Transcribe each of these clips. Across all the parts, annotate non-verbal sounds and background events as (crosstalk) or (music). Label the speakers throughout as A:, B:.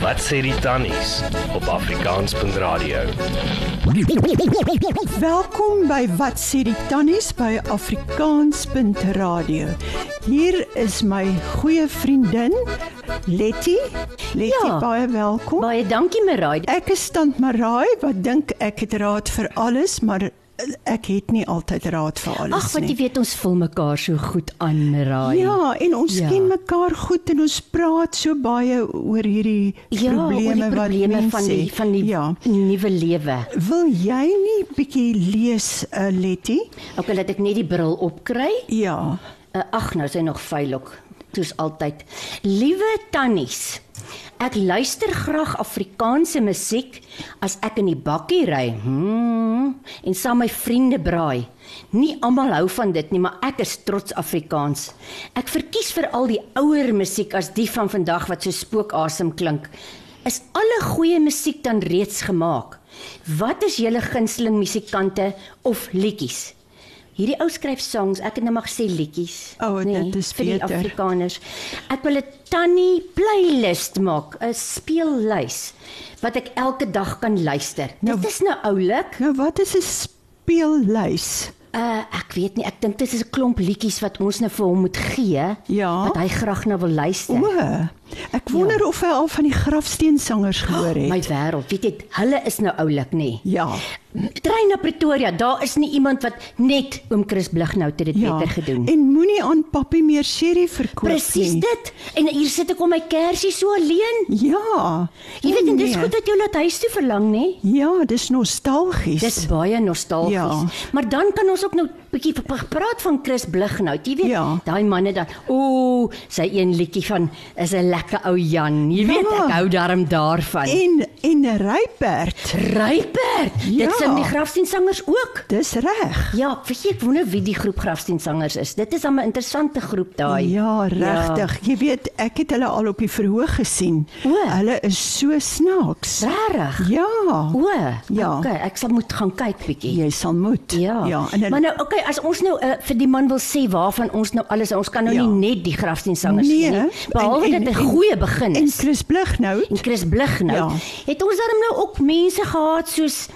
A: Wat sê die tannies op Afrikaans.radio?
B: Welkom by Wat sê die tannies by Afrikaans.radio. Hier is my goeie vriendin Letty. Letty, ja.
C: Ja.
B: baie welkom.
C: Baie dankie Marai.
B: Ek is stand Marai wat dink ek het raad vir alles, maar eh, ek het nie altyd raad vir alles
C: Ag, want jy
B: nie.
C: weet ons vul mekaar so goed aan Marai.
B: Ja, en ons ja.
C: Ja.
B: ken mekaar goed en ons praat so baie oor hierdie
C: Ja, oor die
B: probleme,
C: probleme
B: wat mense
C: van die
B: het.
C: van die
B: ja.
C: nuwe lewe.
B: Wil jy nie bietjie lees, uh, Letty?
C: OK, laat ek net die bril opkry.
B: Ja.
C: Uh, Ag, nou sy nog veilig. Toe's altyd. Liewe tannies, ek luister graag Afrikaanse musiek as ek in die bakkie ry. Hmm, en saam my vriende braai. Nie almal hou van dit nie, maar ek is trots Afrikaans. Ek verkies vir al die ouer musiek as die van vandag wat so spookasem klink. Is alle goeie musiek dan reeds gemaak? Wat is julle gunsteling musikante of liedjies? Hierdie ou skryf songs, ek het nou maar gesê liedjies.
B: O, dit is
C: vir die
B: beter.
C: Afrikaners. Ek wil 'n tannie playlist maak, 'n speellys wat ek elke dag kan luister.
B: Nou-
C: Nou, dit is nou oulik.
B: Nou wat is 'n speellys?
C: Uh ek weet nie, ek dink dit is 'n klomp liedjies wat ons nou vir hom moet gee
B: Ja.
C: wat hy graag na wil luister.
B: O, ek wonder ja. of hy al van die grafsteensangers gehoor het.
C: (gasps) My wêreld, weet jy, hulle is nou oulik, nê?
B: ja.
C: Trein na Pretoria, daar is nie iemand wat net oom Chris Blighnout het dit
B: Ja.
C: beter gedoen.
B: En moenie aan papi meer sherry verkoop
C: Presies
B: nie.
C: dit. En hier sit ek om my kersie so alleen.
B: Ja.
C: Jy weet en dis
B: Nee.
C: goed dat jy laat huis toe verlang, nê?
B: Ja, dis nostalgies.
C: Dis baie nostalgies.
B: Ja.
C: Ja. Maar dan kan ons ook nou 'n bietjie p- p- praat van Chris Blighnout. Jy weet,
B: Ja.
C: ja. daai manne dan. Ooh, sy een liedjie van is 'n lekker ou Jan. Jy weet,
B: Ja.
C: ek hou daarom daarvan. En,
B: en en Rypert.
C: Rypert. Ja.
B: Ja.
C: Dit sing die grafsteensangers ook.
B: Dis reg.
C: Ja, weet jy, ek wonder wie die groep grafsteensangers is. Dit is dan 'n interessante groep daai.
B: Ja, regtig. Ja. Jy weet, ek het hulle al op die verhoog gesien.
C: O.
B: Hulle is so snaaks.
C: Ja. Regtig.
B: Ja.
C: O,
B: Ja.
C: ja. okay, ek sal moet gaan kyk bietjie.
B: Jy sal moet.
C: Ja.
B: ja en
C: maar nou okay, as ons nou uh, vir die man wil sê waarvan ons nou alles ons kan nou
B: Ja.
C: ja. nie net die grafsteensangers
B: Nee,
C: nie, behalwe
B: en- en-
C: dit 'n
B: en-
C: goeie begin
B: en
C: is. En,
B: Chris Blig nou.
C: en Chris Blig nou,
B: Ja.
C: ja. het ons daarom nou ook mense gehad soos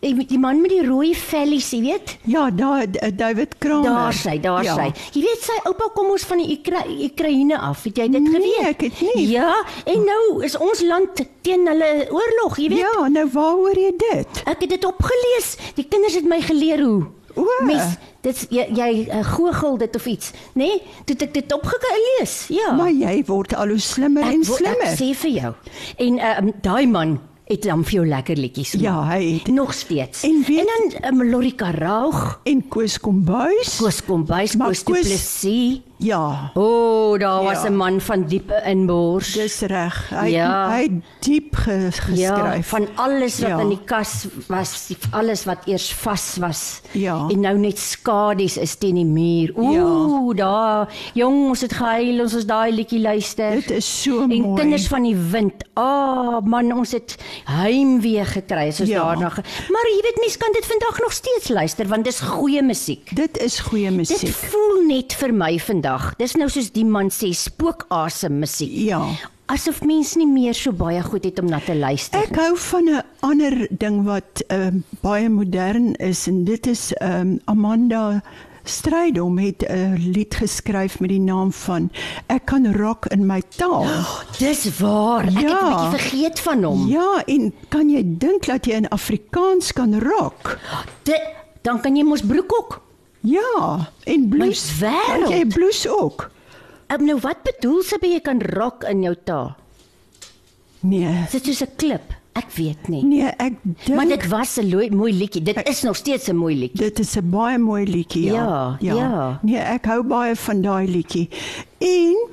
C: eh, die man met die rooi vellies, jy weet?
B: Ja, daar David Kramer.
C: Daar sy, daar
B: ja.
C: ja. sy. Jy weet sy oupa kom ons van die Ukra Oekraïne af, het jy dit
B: Nee,
C: geweet?
B: ek het nie.
C: Ja, en nou is ons land teen hulle oorlog, jy weet?
B: Ja, nou waaroor jy dit?
C: Ek het dit opgelees. Die kinders het my geleer hoe.
B: O.
C: Mens, dit is- jy, jy eh, googel dit of iets, nê? Nee? Toe het ek dit opgelees. Ja.
B: Maar jy word al hoe slimmer
C: ek,
B: en
C: wo-
B: slimmer.
C: Ek sê vir jou. En ehm um, daai man het dan vir jou lekker liedjies.
B: ja,
C: gemaak.
B: hy het
C: nog steeds.
B: En weet-
C: en dan um, Lorika Raug,
B: en Koos Kombuis.
C: Koos Kombuis,
B: Maar
C: Koos Du
B: Koos-
C: Plessis.
B: Ja,
C: O, oh, daar
B: Ja.
C: ja. was 'n man van diepe inbors.
B: dis reg. Hy
C: Ja.
B: hy het diep ge,
C: Ja,
B: geskryf.
C: van alles wat
B: Ja.
C: ja. in die kas was, die- alles wat eers vas was
B: Ja.
C: en nou net skadu's is teen die muur. Ooh, ja. daar jong, ons het gehuil, ons het daai liedjie luister.
B: dit is so
C: en
B: mooi.
C: kinders van die wind. Ah, oh, man, ons het heimwee gekry as ons
B: Ja.
C: ja. daarna. Ge maar jy weet mense kan dit vandag nog steeds luister want dis goeie musiek.
B: Dit is goeie
C: Dit
B: musiek.
C: voel net vir my vandag. Dis nou soos die man sê spookasem musiek.
B: Ja.
C: Asof mense nie meer so baie goed het om na te luister.
B: Ek hou van 'n ander ding wat um, baie modern is en dit is um, Amanda Strydom het 'n lied geskryf met die naam van Ek kan rock in my taal.
C: (gasps) Dis waar. Ek
B: Ja.
C: het 'n bietjie vergeet van hom. Ja.
B: Ja, en kan jy dink dat jy in Afrikaans kan rock?
C: Dit dan kan jy mos broek ook.
B: Ja, en blues.
C: My wêreld.
B: Kan Jy blues ook.
C: Ek nou wat bedoel sy by jy kan rok in jou taal?
B: Nee.
C: Is dit soos 'n klip? Ek weet nie.
B: Nee, ek dink
C: Maar dit was 'n looi- mooi liedjie. Dit is nog steeds 'n mooi liedjie.
B: dit is 'n baie mooi liedjie. Ja.
C: Ja, ja.
B: Nee, ek hou baie van daai liedjie. En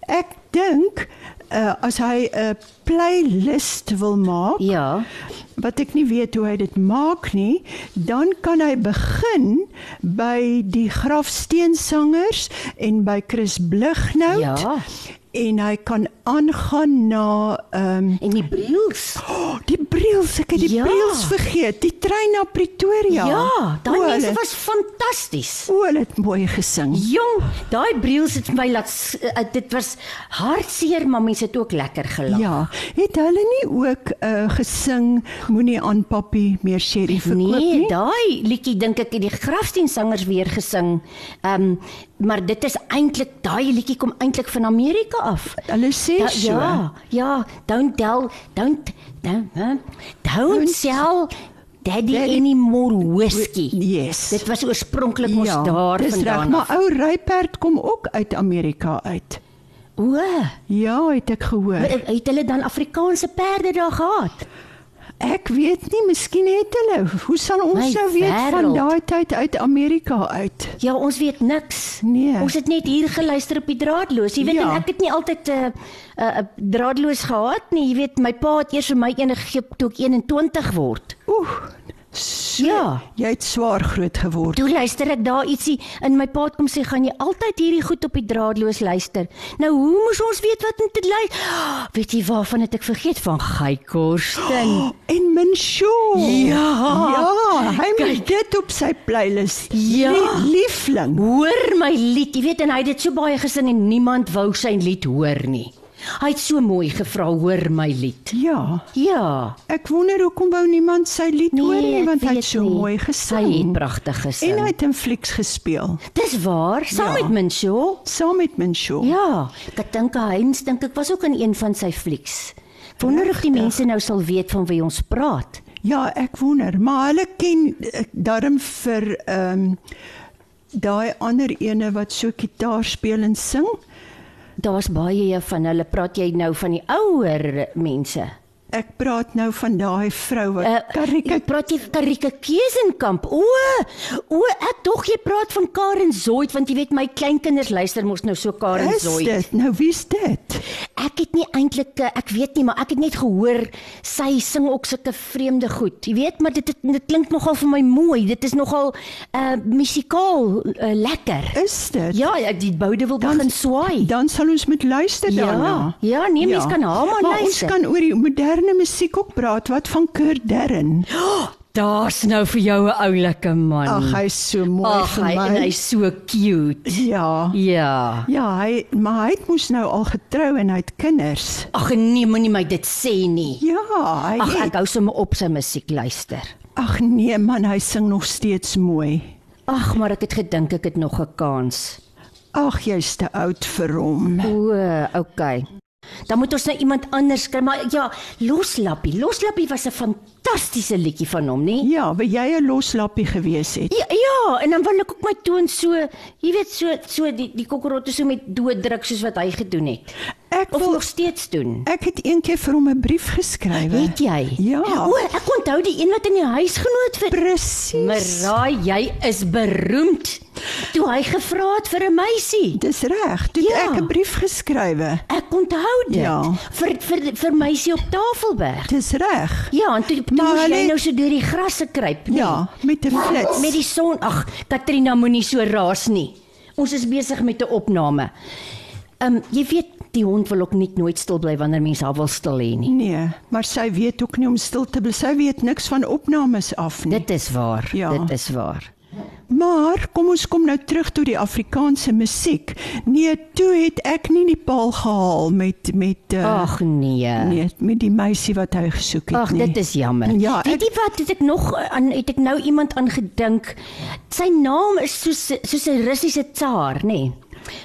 B: ek dink uh, as hy 'n playlist wil maak,
C: Ja.
B: wat ek nie weet hoe hy dit maak nie, dan kan hy begin by die grafsteensangers en by Chris Blighnout.
C: Ja.
B: En hy kan aangaan na ehm (gasps) um,
C: En die Breels.
B: oh, die Aprils, ek het die
C: Ja.
B: Aprils vergeet, die trein na Pretoria.
C: Ja, daai
B: O,
C: mense
B: hulle-
C: was fantasties.
B: O, hulle het mooi gesing.
C: Jong, daai breels het vir my laat s- eh, dit was hartseer, maar mense het ook lekker gelag.
B: Ja, het hulle nie ook uh, gesing moenie aan papi meer sherry verkoop
C: Nee,
B: nie?
C: daai liedjie dink ek het die grafdiensangers weer gesing. Ehm um, maar dit is eintlik daai liedjie kom eintlik van Amerika af.
B: Hulle sê
C: Da,
B: so.
C: ja, ja, don't tell, don't don't, huh? don't sell daddy
B: Daddy-
C: any more whiskey.
B: Yes.
C: Dit was oorspronklik mos
B: ja,
C: daar
B: dis reg,
C: vandaan.
B: maar ou Ryperd kom ook uit Amerika uit.
C: O,
B: Ja, het ek gehoor.
C: het hulle dan Afrikaanse perde daar gehad?
B: Ek weet nie, miskien het hulle. Hoe sal ons
C: My
B: nou weet van
C: wêreld.
B: daai tyd uit Amerika uit?
C: Ja, ons weet niks.
B: Nee.
C: Ons het net hier geluister op die draadloos. Jy weet
B: Ja.
C: ja. ek het nie altyd 'n uh, 'n uh, draadloos gehad nie. Jy weet my pa het eers vir my een gegee toe ek 21 word.
B: Oeh. So,
C: Ja.
B: Jy het swaar groot geword.
C: Toe luister ek daar ietsie in my pa het kom sê gaan jy altyd hierdie goed op die draadloos luister. Nou hoe moes ons weet wat om te luister? (gasps) Weet jy waarvan het ek vergeet van
B: (gasps)
C: Geykorsten?
B: En Minshaw.
C: Ja.
B: Ja, hy moet dit op sy playlist.
C: Ja.
B: Lie- Liefling.
C: Hoor my lied, jy weet en hy het dit so baie gesing en niemand wou sy lied hoor nie. Hy het so mooi gevra hoor my lied.
B: Ja.
C: Ja.
B: Ek wonder hoekom wou niemand sy lied hoor nie
C: Nee, ek
B: want hy
C: weet
B: het so
C: nie.
B: mooi
C: Hy het
B: gesing.
C: pragtig
B: En hy
C: gesing.
B: het in flieks gespeel
C: Dis waar, saam
B: Ja.
C: met Minshaw.
B: saam met Minshaw.
C: Ja, Katinka Heinz dink ek was ook in een van sy flieks. Wonder of die mense nou sal weet van wie ons praat.
B: Ja, ek wonder, maar hulle ken eh, darm vir ehm daai ander ene wat so gitaar speel en sing.
C: Daar's baie van hulle. Praat jy nou van die ouer mense?
B: Ek praat nou van daai vrou wat uh,
C: Eh,
B: Karika
C: jy praat jy van Karika Kiesenkamp. O, o, ek dog jy praat van Karen Zoid want jy weet my kleinkinders luister mos nou so Karen
B: is
C: Zoid.
B: dit. Nou wie's dit?
C: Ek het nie eintlik eh, ek weet nie, maar ek het net gehoor sy sing ook sulke vreemde goed. Jy weet, maar dit dit, dit klink nogal vir my mooi. Dit is nogal uh musikaal uh, lekker.
B: Is dit?
C: Ja, ek- die boude wil begin swaai.
B: Dan sal ons moet luister daarna.
C: Ja, ja, nee, mens kan haar maar
B: Ons
C: luister.
B: kan oor die moderne musiek ook praat wat van Kurt Darren.
C: Daar's nou vir jou 'n oulike man.
B: Ag, hy's so mooi
C: Mm. Ag,
B: vir
C: hy
B: my.
C: en hy's so cute.
B: ja.
C: Ja.
B: Ja, hy maar hy het moes nou al getrou en hy het kinders.
C: Ag nee, moenie my dit sê nie.
B: Ja, hy
C: Ag,
B: het-
C: ek hou sommer op sy musiek luister.
B: Ag nee man, hy sing nog steeds mooi.
C: Ag, maar ek het gedink ek het nog 'n kans.
B: Ag, jy's te oud vir hom.
C: O, okay. Dan moet ons nou iemand anders kry, maar ja, Loslappie. Loslappie was 'n fantastiese liedjie van hom, nê?
B: Ja, wou jy 'n loslappie gewees het?
C: Ja, ja, en dan wil ek ook my toon so, jy weet, so so die die kokkerotte so met dood druk soos wat hy gedoen het.
B: Ek
C: Of
B: wil
C: nog steeds doen.
B: ek het eendag vir hom 'n brief geskryf.
C: Het jy?
B: Ja.
C: O, ek onthou die een wat in die huisgenoot vir Maar
B: Presies.
C: raai jy is beroemd. Toe hy gevra het vir 'n meisie.
B: Dis reg. Toe het
C: Ja.
B: ek 'n brief geskryf.
C: Ek onthou dit.
B: Ja.
C: Vir vir vir meisie op Tafelberg.
B: Dis reg.
C: Ja, en toe, toe
B: Maar
C: moes
B: hulle
C: jy
B: het-
C: nou so deur die grasse kruip, nee.
B: Ja, met 'n flits.
C: Met die son. Ag, Katrina moenie so raas nie. Ons is besig met 'n opname. Ehm um, jy weet die hond wil ook nie nooit stil bly wanneer mense haar wil stil hê nie.
B: Nee, maar sy weet ook nie om stil te bly. Sy weet niks van opnames af nie.
C: Dit is waar.
B: Ja.
C: Dit is waar.
B: Maar kom ons kom nou terug tot die Afrikaanse musiek. Nee, toe het ek nie die paal gehaal met met uh,
C: Ag nee.
B: nee, met die meisie wat hy gesoek het
C: Ag,
B: nie.
C: dit is jammer.
B: Ja,
C: Weet
B: ek,
C: jy wat het ek nog eh, aan het ek nou iemand aan gedink. Sy naam is soos soos 'n Russiese tsaar, nê. Nee.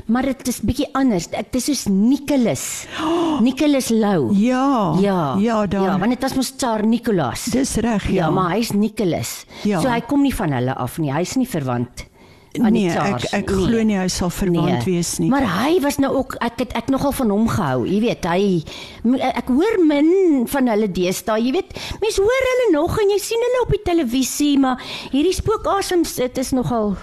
C: Maar dit is bietjie anders. Ek dis soos
B: (gasps)
C: Nicholas. Nicholas Lou.
B: ja.
C: Ja.
B: Ja, dan.
C: Ja,
B: Ja,
C: want dit was mos tsaar Nicholas.
B: dis reg ja.
C: ja, maar hy's Nicholas.
B: Ja.
C: So hy kom nie van hulle af nie. Hy's nie verwant aan
B: nee,
C: die tsaars.
B: ek ek glo nie hy sal verwant wees nie.
C: Maar hy was nou ook ek het ek nogal van hom gehou. Jy weet, hy ek hoor min van hulle deesdae. Jy weet, mense hoor hulle nog en jy sien hulle op die televisie, maar hierdie spookasems dit is nogal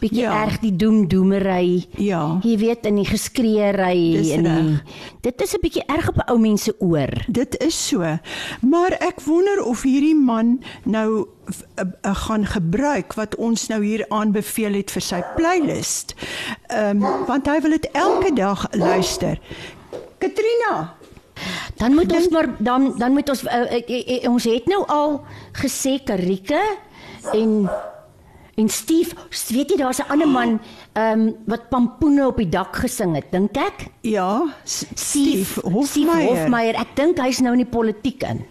C: bietjie
B: Ja.
C: ja. erg die doemdoemery.
B: ja.
C: Jy weet in die
B: Dis
C: geskreeery en die, dit is 'n bietjie erg op 'n ou mens se oor.
B: Dit is so. Maar ek wonder of hierdie man nou uh, uh, gaan gebruik wat ons nou hier aanbeveel het vir sy playlist. Ehm um, want hy wil dit elke dag luister. Katrina,
C: Dan moet ons maar dan dan moet ons uh, uh, uh, uh, ons het nou al gesê Karike en en Steve, weet jy daar's 'n ander man ehm um, wat pampoene op die dak gesing het, dink ek?
B: Ja, S- Steve
C: Steve
B: Hofmeyer.
C: Hofmeyer. Ek dink hy's nou in die politiek in.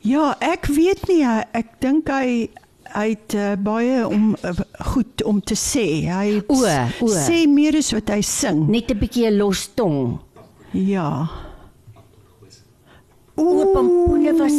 B: Ja, ek weet nie, hy- ek dink hy hy het uh, baie om uh, goed om te sê. Hy
C: O, o.
B: sê meer as wat hy sing.
C: Net 'n bietjie 'n los tong.
B: Ja.
C: O, pampoene was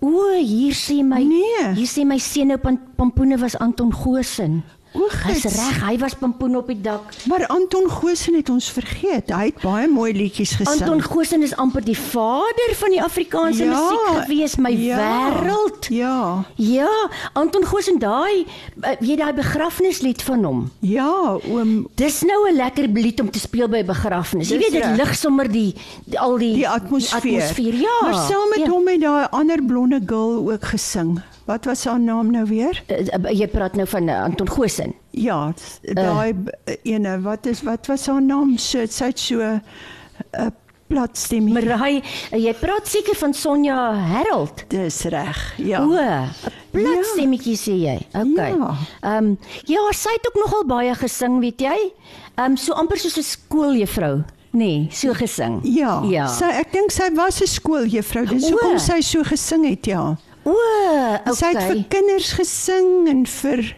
C: O, hier sê my
B: Nee.
C: hier sê my seun nou Pam- pampoene was Anton Goosen.
B: O,
C: Hy's
B: gits.
C: reg, hy was pampoen op die dak.
B: Maar Anton Goosen het ons vergeet. Hy het baie mooi liedjies gesing.
C: Anton Goosen is amper die vader van die Afrikaanse musiek gewees, my
B: ja,
C: wêreld.
B: Ja.
C: Ja, Anton Goosen daai eh, weet daai begrafnislied van hom.
B: Ja, oom
C: Dis nou 'n lekker lied om te speel by 'n begrafnis. Jy
B: Dis
C: weet dit
B: reg.
C: lig sommer die, die al die
B: die atmosfeer.
C: die atmosfeer ja.
B: Maar saam met
C: ja.
B: hom het daai ander blonde girl ook gesing. Wat was haar naam nou weer?
C: Eh, Jy praat nou van eh, Anton Goosen.
B: Ja, s-
C: Eh.
B: daai uh, ene, wat is wat was haar naam? So sy het so 'n uh, plat stemmetjie.
C: Marai, eh, jy praat seker van Sonja Herald.
B: Dis reg. Ja.
C: O, 'n plat
B: Ja.
C: stemmetjie sê jy. Okay. Ehm
B: Ja.
C: ja. Um, ja, sy het ook nogal baie gesing, weet jy? Ehm um, so amper soos 'n skooljuffrou, nê, nee, so gesing.
B: Ja,
C: Ja.
B: sy ek dink sy was 'n skooljuffrou. Dis
C: O.
B: hoekom sy so gesing het, ja.
C: O, okay.
B: Sy het vir kinders gesing en vir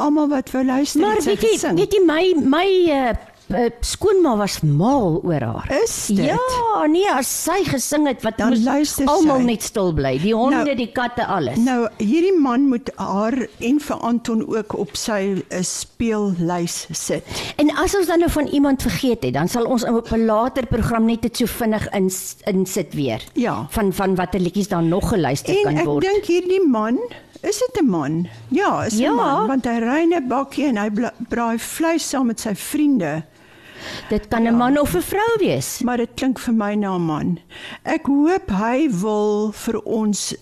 B: almal wat wou luister,
C: maar
B: het sy
C: weet jy,
B: gesing.
C: weet jy my my uh, uh, skoonma was mal oor haar.
B: Is dit?
C: Ja, nee, as sy gesing het wat
B: Dan
C: moes
B: luister
C: almal
B: sy.
C: net stil bly. Die honde,
B: Nou-
C: nou, die katte, alles.
B: Nou, hierdie man moet haar en vir Anton ook op sy eh, speellys sit.
C: En as ons dan nou van iemand vergeet het, dan sal ons op 'n later program net dit so vinnig in insit weer.
B: Ja.
C: Van van watter liedjies dan nog geluister
B: En
C: kan
B: ek
C: word.
B: dink hierdie man, is dit 'n man? Ja, is 'n
C: Ja.
B: man want hy ry in 'n bakkie en hy bla- braai vleis saam met sy vriende,
C: dit kan 'n
B: Ja.
C: man of 'n vrou wees.
B: maar dit klink vir my na 'n man. Ek hoop hy wil vir ons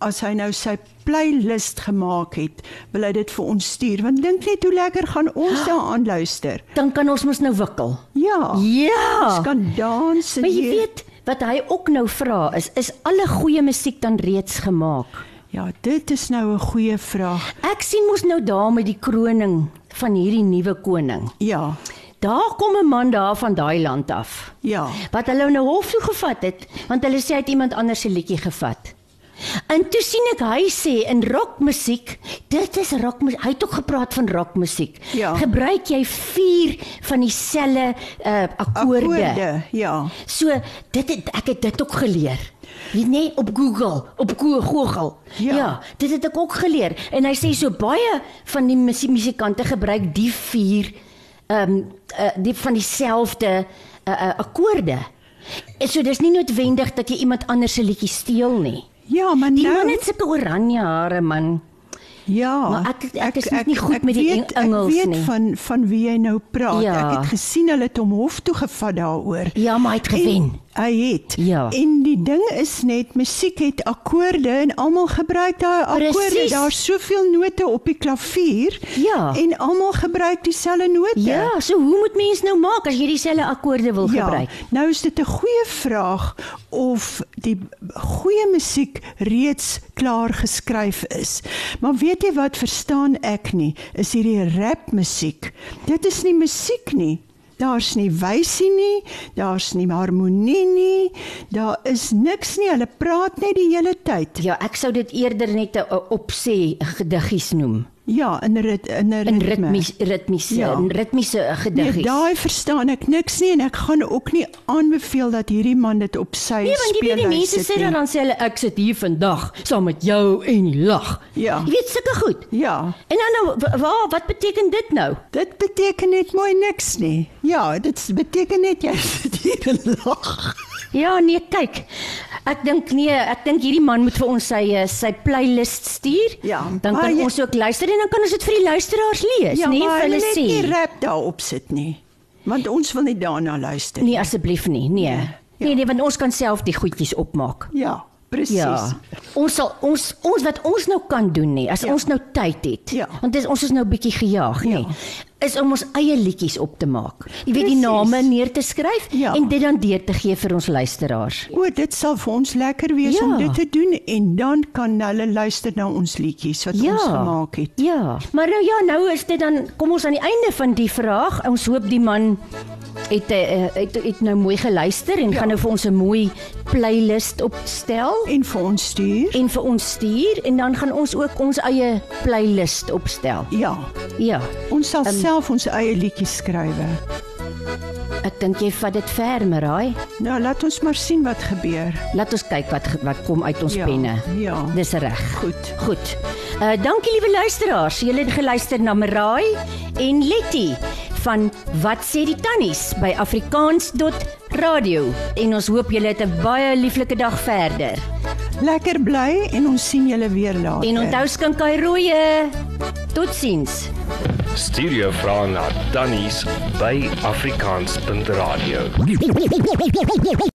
B: as hy nou sy playlist gemaak het, wil hy dit vir ons stuur want dink net hoe lekker gaan ons daaraan luister.
C: Dan kan ons mos nou wikkel.
B: Ja.
C: Ja.
B: Ons kan dans en
C: Maar jy
B: hier-
C: weet wat hy ook nou vra is is alle goeie musiek dan reeds gemaak.
B: Ja, dit is nou 'n goeie vraag.
C: Ek sien mos nou daar met die kroning van hierdie nuwe koning.
B: Ja.
C: Daar kom 'n man daar van daai land af.
B: Ja.
C: wat hulle nou hof toe gevat het, want hulle sê hy het iemand anders se liedjie gevat. En toe sien ek hy sê in rockmusiek, dit is rockmusiek. Hy het ook gepraat van rockmusiek.
B: Ja.
C: Gebruik jy vier van dieselfde uh, akkoorde. akkoorde.
B: Akkoorde, ja.
C: So dit het, ek het dit ook geleer. Jy nê op Google, op Go- Google.
B: Ja.
C: ja, dit het ek ook geleer en hy sê so baie van die musie- musikante gebruik die vier ehm uh, die van dieselfde uh, uh, akkoorde. En so dis nie noodwendig dat jy iemand anders se liedjie steel nie.
B: Ja, maar
C: Die
B: nou
C: man het sulke oranje hare man.
B: ja.
C: Maar ek- ek is nog nie goed met die
B: weet,
C: Engels
B: Ek weet
C: nie.
B: van van wie jy nou praat.
C: Ja.
B: Ek het gesien hulle het hom hof toe gevat daaroor.
C: Ja, maar hy het gewen.
B: En Hy het.
C: Ja.
B: En die ding is net musiek het akkoorde en almal gebruik daai akkoorde.
C: Presies.
B: Daar's soveel note op die klavier.
C: Ja.
B: En almal gebruik dieselfde note.
C: Ja, so hoe moet mens nou maak as jy dieselfde akkoorde wil gebruik?
B: nou is dit 'n goeie vraag of die goeie musiek reeds klaar geskryf is. Maar weet jy wat verstaan ek nie, is hierdie rap musiek. Dit is nie musiek nie. Daar's nie wysie nie, daar's nie harmonie nie, daar is niks nie. Hulle praat net die hele tyd.
C: Ja, ek sou dit eerder net 'n 'n opsê gediggies noem.
B: Ja, in 'n rit, in 'n
C: In
B: ritme.
C: ritmies ritmiese
B: Ja.
C: in ritmiese gediggies.
B: Nee, daai verstaan ek niks nie en ek gaan ook nie aanbeveel dat hierdie man dit op sy
C: Nee, want jy weet die
B: speellys
C: mense
B: sit
C: sê
B: nie.
C: dan dan sê hulle ek sit hier vandag saam met jou en die lag.
B: Ja.
C: Jy weet sulke goed.
B: Ja,
C: En dan nou wa- waar wat beteken dit nou?
B: dit beteken net mooi niks nie. Ja, dit beteken net jy (laughs) sit hier en lag.
C: Ja, nee, kyk. Ek dink nee, ek dink hierdie man moet vir ons sy eh, sy playlist stuur.
B: Ja,
C: Dan
B: maar
C: kan
B: jy- Ja,
C: ons ook luister en dan kan ons dit vir die luisteraars lees, nee, vir hulle
B: net
C: sê.
B: nie rap daarop sit nie. Want ons wil nie daarna luister nie.
C: Nee, asseblief nie. Nee.
B: ja.
C: Nee, nee, want ons kan self die goedjies opmaak.
B: Ja, presies.
C: Nee. Ja. Ons sal ons ons wat ons nou kan doen nie, as
B: Ja.
C: ons nou tyd het.
B: Ja.
C: Want dis ons is nou bietjie gejaag, nê.
B: Ja.
C: is om ons eie liedjies op te maak. Jy weet
B: Presies.
C: die name neer te skryf
B: Ja.
C: en dit dan deur te gee vir ons luisteraars.
B: O, dit sal vir ons lekker wees
C: Ja.
B: om dit te doen en dan kan hulle luister na ons liedjies wat ons gemaak het.
C: Ja. Maar nou ja, nou is dit dan kom ons aan die einde van die vraag. Ons hoop die man het eh, eh, het, het nou mooi geluister en ja. gaan nou vir ons 'n mooi playlist opstel
B: En vir ons stuur.
C: en vir ons stuur en dan gaan ons ook ons eie playlist opstel.
B: Ja,
C: Ja.
B: ons sal self ons eie liedjies skryf.
C: Ek dink jy vat dit ver, Maraai.
B: Nou laat ons maar sien wat gebeur.
C: Laat ons kyk wat ge- wat kom uit ons
B: Ja,
C: penne.
B: ja.
C: Dis reg.
B: Goed.
C: Goed. Uh dankie liewe luisteraars. Julle het geluister na Maraai en Letty van Wat sê die tannies by afrikaans.radio en ons hoop julle het 'n baie lieflike dag verder.
B: Lekker bly en ons sien julle weer later.
C: En onthou skink hy rooie. Totsiens.
A: Stuur jou vrae na tannies by afrikaans.radio.
D: Wait, wait, wait, wait, wait, wait, wait, wait.